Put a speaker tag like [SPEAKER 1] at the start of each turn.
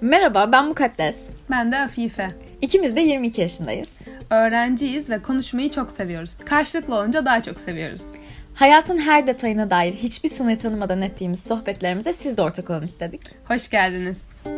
[SPEAKER 1] Merhaba ben Mukaddes.
[SPEAKER 2] Ben de Afife.
[SPEAKER 1] İkimiz de 22 yaşındayız.
[SPEAKER 2] Öğrenciyiz ve konuşmayı çok seviyoruz. Karşılıklı olunca daha çok seviyoruz.
[SPEAKER 1] Hayatın her detayına dair hiçbir sınır tanımadan ettiğimiz sohbetlerimize siz de ortak olun istedik.
[SPEAKER 2] Hoş geldiniz.